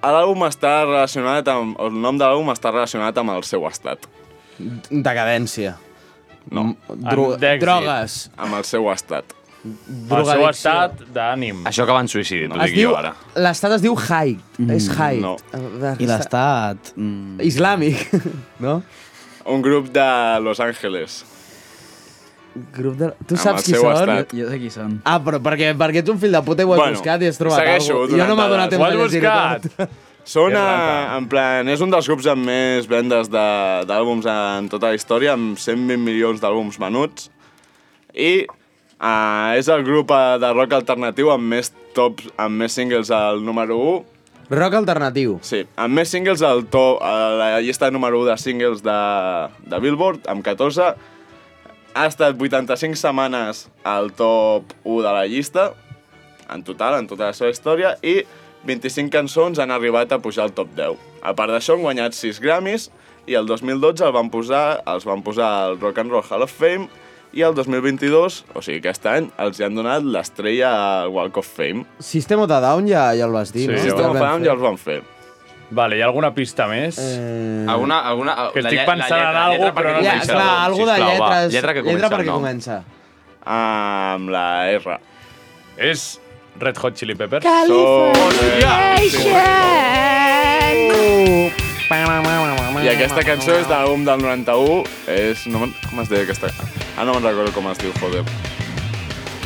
l'àlbum està relacionat amb... El nom de l'àlbum està relacionat amb el seu estat. Decadència. No. Dro- d'èxit. drogues. Amb el seu estat. El seu estat d'ànim. Això que van suïcidi, t'ho Es dic diu... jo ara. L'estat es diu Haid. Mm, és Haid. no. Eh, I l'estat... Islàmic. <laughs> no? Un grup de Los Angeles. Grup de... Tu Amb saps el qui seu són? estat. Jo sé qui són. Ah, però perquè, perquè ets un fill de puta i ho has Bueno, buscat i has trobat segueixo, alguna cosa. Jo no m'ha donat temps donant de dades. llegir-ho Ho has tot. Són, És a, en plan, és un dels grups amb més vendes de- d'àlbums en tota la història, amb 120 milions d'àlbums venuts. I uh, és el grup eh, de rock alternatiu amb més tops, amb més singles al número 1. Rock alternatiu. Sí, amb més singles al top, a la llista número 1 de singles de, de Billboard, amb 14. Ha estat 85 setmanes al top 1 de la llista, en total, en tota la seva història, i 25 cançons han arribat a pujar al top 10. A part d'això, han guanyat 6 Grammys, i el 2012 el van posar, els van posar al Rock and Roll Hall of Fame, i el 2022, o sigui, aquest any, els hi han donat l'estrella al Walk of Fame. Sistema de Down ja, ja el vas dir, no? System of a Down ja els van fer. Vale, hi ha alguna pista més? Eh... Alguna, alguna, Que la estic lle- la pensant lletra, en algo, lletra, però no perquè comença me'n el sap. nom, algú de sisplau, va. lletres- Lletra que lletra comença el perquè nom. comença. Amb la R. És Red Hot Chili Peppers? I aquesta cançó és de l'àlbum del 91, és... No me'n- com es deia aquesta? Ah, no me'n recordo com es diu, joder.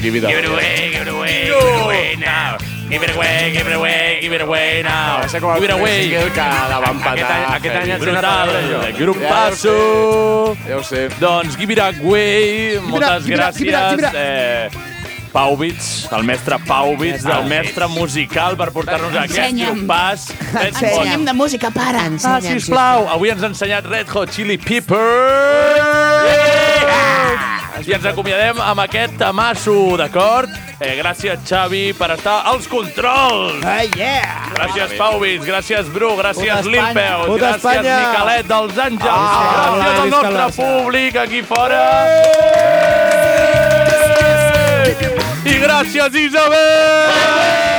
Give it Give it up. away, give it away, give it away now. Give it away, give it away, give it away now. Va ser com el Give it primer away. single que la va empatar. Aquest any- aquest any heavy. ha sigut una Brutal, eh, revolució. Grupasso. Ja ho sé. eh, Doncs give it away, moltes give it up, give it up, give it gràcies. up. Eh, Pau Bits, el mestre Pau Bits, del mestre musical, per portar-nos a aquest Ensenya'm. grupàs. Ensenya'm de música, pare. Ah, sisplau, avui ens ha ensenyat Red Hot Chili Peppers. I ens acomiadem amb aquest tamasso, d'acord? Eh, gràcies, Xavi, per estar als controls. Ah, yeah! Gràcies, Pau Vits, gràcies, Bru, gràcies, Puta Lil Espanya. Peu, Puta gràcies, Espanya. Micalet dels Àngels, Ah, gràcies al visca Eh! nostre Barça. públic aquí fora. I gràcies, Isabel!